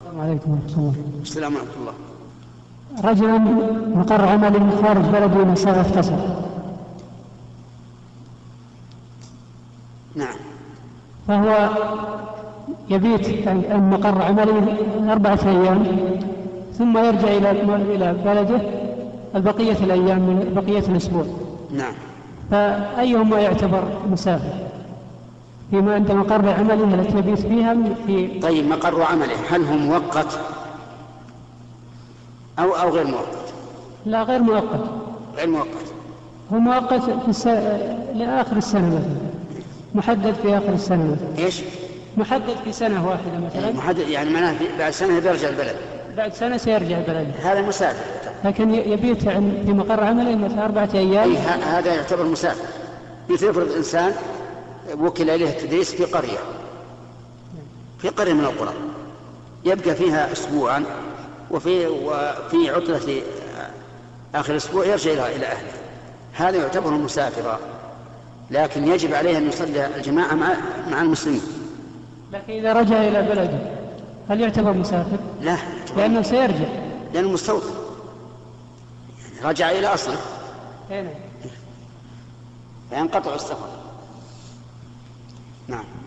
السلام عليكم ورحمة الله السلام ورحمة الله رجل مقر عمل خارج بلده من سنة اغتصب نعم فهو يبيت عن مقر عمله أربعة أيام ثم يرجع إلى إلى بلده بقية الأيام من بقية الأسبوع نعم فأيهما يعتبر مسافر فيما أن مقر عمله التي يبيت فيها في طيب مقر عمله هل هو مؤقت أو أو غير مؤقت لا غير مؤقت غير مؤقت هو مؤقت في الس... لآخر السنة مثلا محدد في آخر السنة مثلا إيش محدد في سنة واحدة مثلا محدد يعني معناه في- بعد سنة بيرجع البلد بعد سنة سيرجع بلده هذا مسافر لكن ي- يبيت عن- في مقر عمله مثلا أربعة أي أيام ه- هذا يعتبر مسافر مثل افرض إنسان وكل إليه التدريس في قرية في قرية من القرى يبقى فيها أسبوعا وفي وفي عطلة في آخر أسبوع يرجع إلى إلى أهله هذا يعتبر مسافرا لكن يجب عليه أن يصلي الجماعة مع مع المسلمين لكن إذا رجع إلى بلده هل يعتبر مسافر؟ لا لأنه سيرجع لأنه مستوطن يعني رجع إلى أصله هنا. فينقطع السفر نعم